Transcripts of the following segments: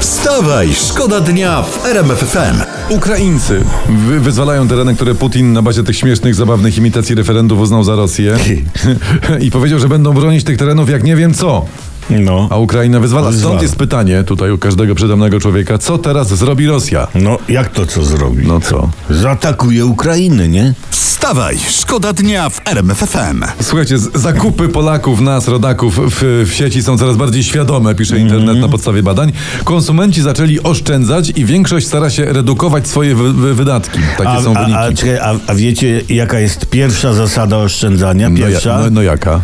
Wstawaj, szkoda dnia w RMF FM. Ukraińcy wy wyzwalają tereny, które Putin na bazie tych śmiesznych, zabawnych imitacji referendów uznał za Rosję. I powiedział, że będą bronić tych terenów jak nie wiem co. No. A Ukraina wyzwala. Wyzwala. Stąd jest pytanie tutaj u każdego przydomnego człowieka, co teraz zrobi Rosja? No, jak to co zrobi? No co? Zaatakuje Ukrainę, nie? Wstawaj, szkoda dnia w RMF FM. Słuchajcie, z- zakupy Polaków, nas, rodaków w, w sieci są coraz bardziej świadome, pisze Mhm. internet na podstawie badań. Konsumenci zaczęli oszczędzać i większość stara się redukować swoje wy, wy, wydatki. Takie A, są a, wyniki. a, czekaj, a, a wiecie, jaka jest pierwsza zasada oszczędzania? no, ja, Pierwsza? no, no jaka?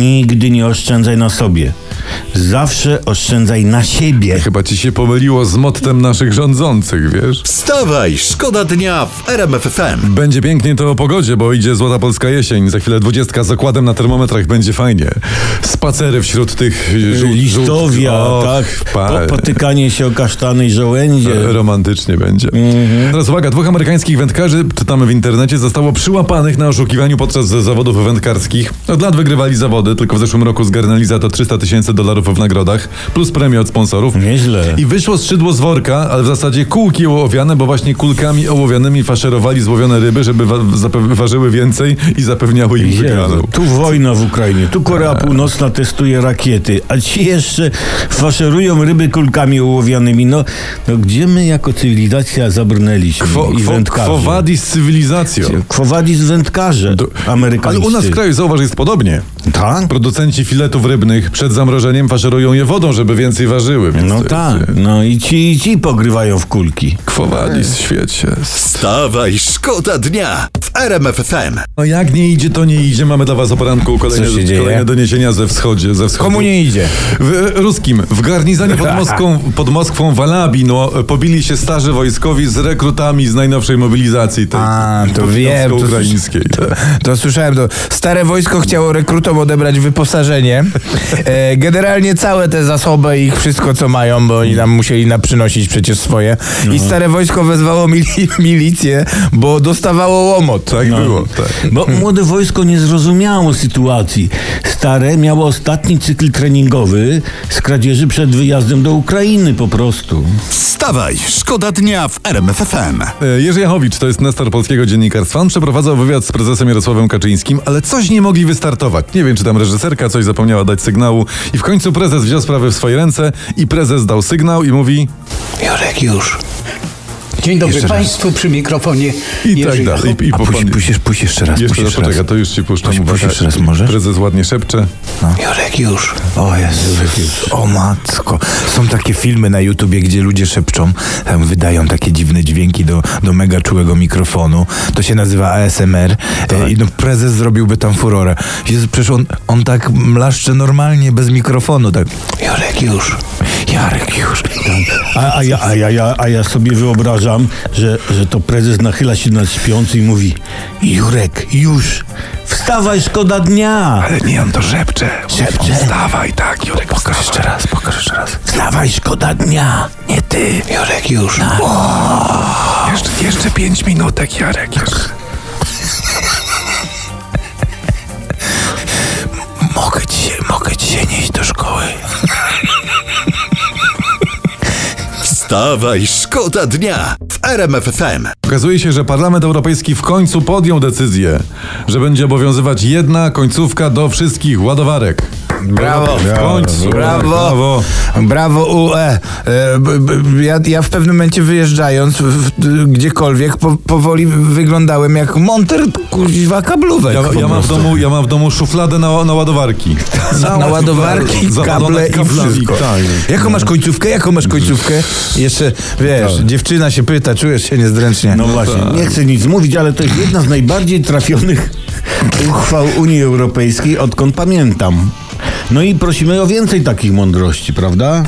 Nigdy nie oszczędzaj na sobie. Zawsze oszczędzaj na siebie. Chyba ci się pomyliło z mottem naszych rządzących, wiesz? Wstawaj, szkoda dnia w RMF FM. Będzie pięknie to o pogodzie, bo idzie złota polska jesień. Za chwilę dwudziestka z okładem na termometrach będzie fajnie. Spacery wśród tych y, żół- Liśtowia, żółt- tak? Och, pa- Po, potykanie się o kasztany i żołędzie. Romantycznie będzie. Mhm. Teraz uwaga, dwóch amerykańskich wędkarzy, czytamy w internecie, zostało przyłapanych na oszukiwaniu podczas zawodów wędkarskich. Od lat wygrywali zawody, tylko w zeszłym roku zgarnęli za to 300 tysięcy dolarów w nagrodach, plus premię od sponsorów. Nieźle. I wyszło skrzydło z worka, ale w zasadzie kółki ołowiane, bo właśnie kulkami ołowianymi faszerowali złowione ryby, żeby wa- zape- ważyły więcej i zapewniały im Jezu, wygraną. Tu wojna w Ukrainie, tu Korea Tak. Północna testuje rakiety, a ci jeszcze faszerują ryby kulkami ołowianymi. No, no gdzie my jako cywilizacja zabrnęliśmy? Kwo, I kwo, wędkarze. kwo wadi z cywilizacją. Kwowadis wędkarze Do- Ale amerykańscy. u nas w kraju, zauważ, jest podobnie. Tak? Producenci filetów rybnych przed zamrożeniem faszerują je wodą, żeby więcej ważyły. Więc No to- tak, no i ci, i ci pogrywają w kulki. Kwo wadis, świecie. Wstawaj, szkoda dnia w RMF FM. No jak nie idzie, to nie idzie. Mamy dla was o poranku kolejne, Co się dzieje? kolejne doniesienia ze wschodzie, ze wschodu. idzie? W ruskim, w garnizonie pod Moskwą, pod Moskwą w Alabi, no, pobili się starzy wojskowi z rekrutami z najnowszej mobilizacji tej A, to wiem. To, ukraińskiej. tak. To, to słyszałem. To stare wojsko chciało rekrutom odebrać wyposażenie. E, generalnie całe te zasoby, ich wszystko co mają, bo oni nam musieli naprzynosić przecież swoje. I Mhm. stare wojsko wezwało mili- milicję, bo dostawało łomot. Tak było, tak. Bo młode wojsko nie zrozumiało sytuacji. Stare miało ostatni cykl treningowy z kradzieży przed wyjazdem do Ukrainy po prostu. Wstawaj, szkoda dnia w RMF FM. E, Jerzy Jachowicz, to jest nestor polskiego dziennikarstwa. On przeprowadzał wywiad z prezesem Jarosławem Kaczyńskim, ale coś nie mogli wystartować. Nie wiem, czy tam reżyserka coś zapomniała dać sygnału. I w końcu prezes wziął sprawę w swoje ręce i prezes dał sygnał i mówi... Jurek już. Dzień dobry Państwu przy mikrofonie. I Jerzy tak dalej. Jachow. I, i A puść, puść, puść jeszcze raz, Jeszcze puść raz, jeszcze raz. poczekaj, to już ci puszczam. Puść- puść uwaga. jeszcze raz, może? Prezes ładnie szepcze. Jurek już. O Jezus, o matko. Są takie filmy na YouTubie, gdzie ludzie szepczą, tam wydają takie dziwne dźwięki do, do mega czułego mikrofonu. To się nazywa ASMR. E, I no, prezes zrobiłby tam furorę. Jezu, przecież on, on tak mlaszcze normalnie, bez mikrofonu. Tak, Jurek już. Jarek już. A, a, ja, a, ja, ja, a ja sobie wyobrażam, że, że to prezes nachyla się nad śpiący i mówi Jurek, już! Wstawaj, szkoda dnia! Ale nie, on to szepcze. Szepcze? Wstawaj, tak, Jurek, pokaż jeszcze raz, pokaż jeszcze raz. Wstawaj, szkoda dnia! Nie ty. Jurek już. Jeszcze, jeszcze pięć minutek, Jarek. Jeszcze. mogę dzisiaj, mogę dzisiaj nie iść do szkoły. Wstawaj, szkoda dnia w RMF FM. Okazuje się, że Parlament Europejski w końcu podjął decyzję, że będzie obowiązywać jedna końcówka do wszystkich ładowarek. Brawo. W końcu. Brawo. Brawo. Brawo UE. E, b, b, ja, ja w pewnym momencie wyjeżdżając w, w, gdziekolwiek po, powoli wyglądałem jak monter kuźwa kablówek. Ja, Tak po ja, mam w prostu. domu, ja mam w domu szufladę na, na ładowarki. Na, na ładowarki, Zawalone kable i kablami, wszystko. Tak. tak. Jaką masz końcówkę? Jaką masz końcówkę? Jeszcze, wiesz, dziewczyna się pyta, czujesz się niezręcznie. No właśnie, nie chcę nic mówić, ale to jest jedna z najbardziej trafionych uchwał Unii Europejskiej, odkąd pamiętam. No i prosimy o więcej takich mądrości, prawda?